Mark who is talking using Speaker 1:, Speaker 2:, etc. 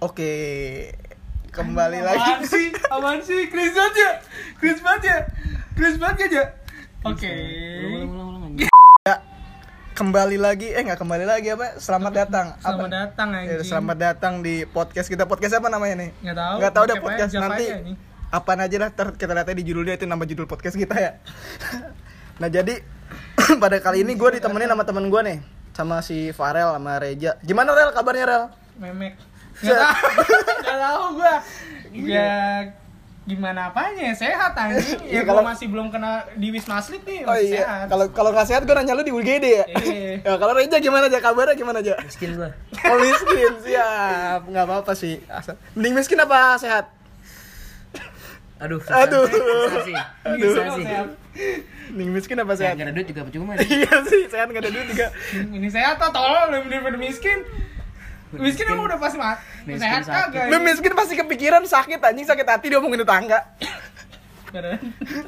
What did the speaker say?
Speaker 1: Oke, kembali lagi.
Speaker 2: Apaan sih? Apaan sih? Chris banget ya? Chris banget ya? Chris banget ya, Ja? Oke.
Speaker 1: Ya, kembali lagi. Eh, nggak kembali lagi apa? Selamat datang. Apa?
Speaker 2: Selamat datang
Speaker 1: Ya,
Speaker 2: anjing.
Speaker 1: selamat datang di podcast kita. Podcast apa namanya nih?
Speaker 2: Nggak tahu. ya?
Speaker 1: Nggak tahu dah
Speaker 2: Pakai
Speaker 1: podcast
Speaker 2: apa aja,
Speaker 1: nanti.
Speaker 2: apa aja nih.
Speaker 1: Apaan aja lah. Ter kita lihatnya di judulnya itu nama judul podcast kita ya. nah jadi pada kali ini gue ditemenin sama temen gue nih, sama si Farel sama Reja. Gimana Rel? Kabarnya Rel?
Speaker 2: Memek. Nggak tahu. Nggak tahu gua. Ya gimana apanya? Sehat anjing.
Speaker 1: Iya,
Speaker 2: Ya,
Speaker 1: kalau-
Speaker 2: kalau masih belum kena di Wisma Atlet nih,
Speaker 1: Oh iya.
Speaker 2: masih sehat.
Speaker 1: Kalau kalau nggak sehat gue nanya lu di UGD ya.
Speaker 2: Iya.
Speaker 1: Ya, kalau Reja gimana aja kabarnya gimana aja?
Speaker 3: miskin gua
Speaker 1: Oh miskin siap, nggak apa-apa sih. Asal- Mending miskin apa sehat?
Speaker 3: aduh susah
Speaker 1: Aduh.
Speaker 3: susah sih
Speaker 1: Aduh.
Speaker 3: susah sih
Speaker 2: sehat.
Speaker 1: Mending miskin apa
Speaker 3: ya
Speaker 1: sehat?
Speaker 3: nggak ada duit juga percuma nih
Speaker 1: Iya sih, sehat nggak ada duit juga.
Speaker 2: Ini sehat atau tolong lebih daripada miskin. Miskin emang udah pasti mati.
Speaker 3: Miskin
Speaker 2: Sehat
Speaker 3: sakit.
Speaker 2: kagak?
Speaker 1: Lu miskin pasti kepikiran sakit anjing sakit hati dia ngomongin tetangga.
Speaker 2: Beneran.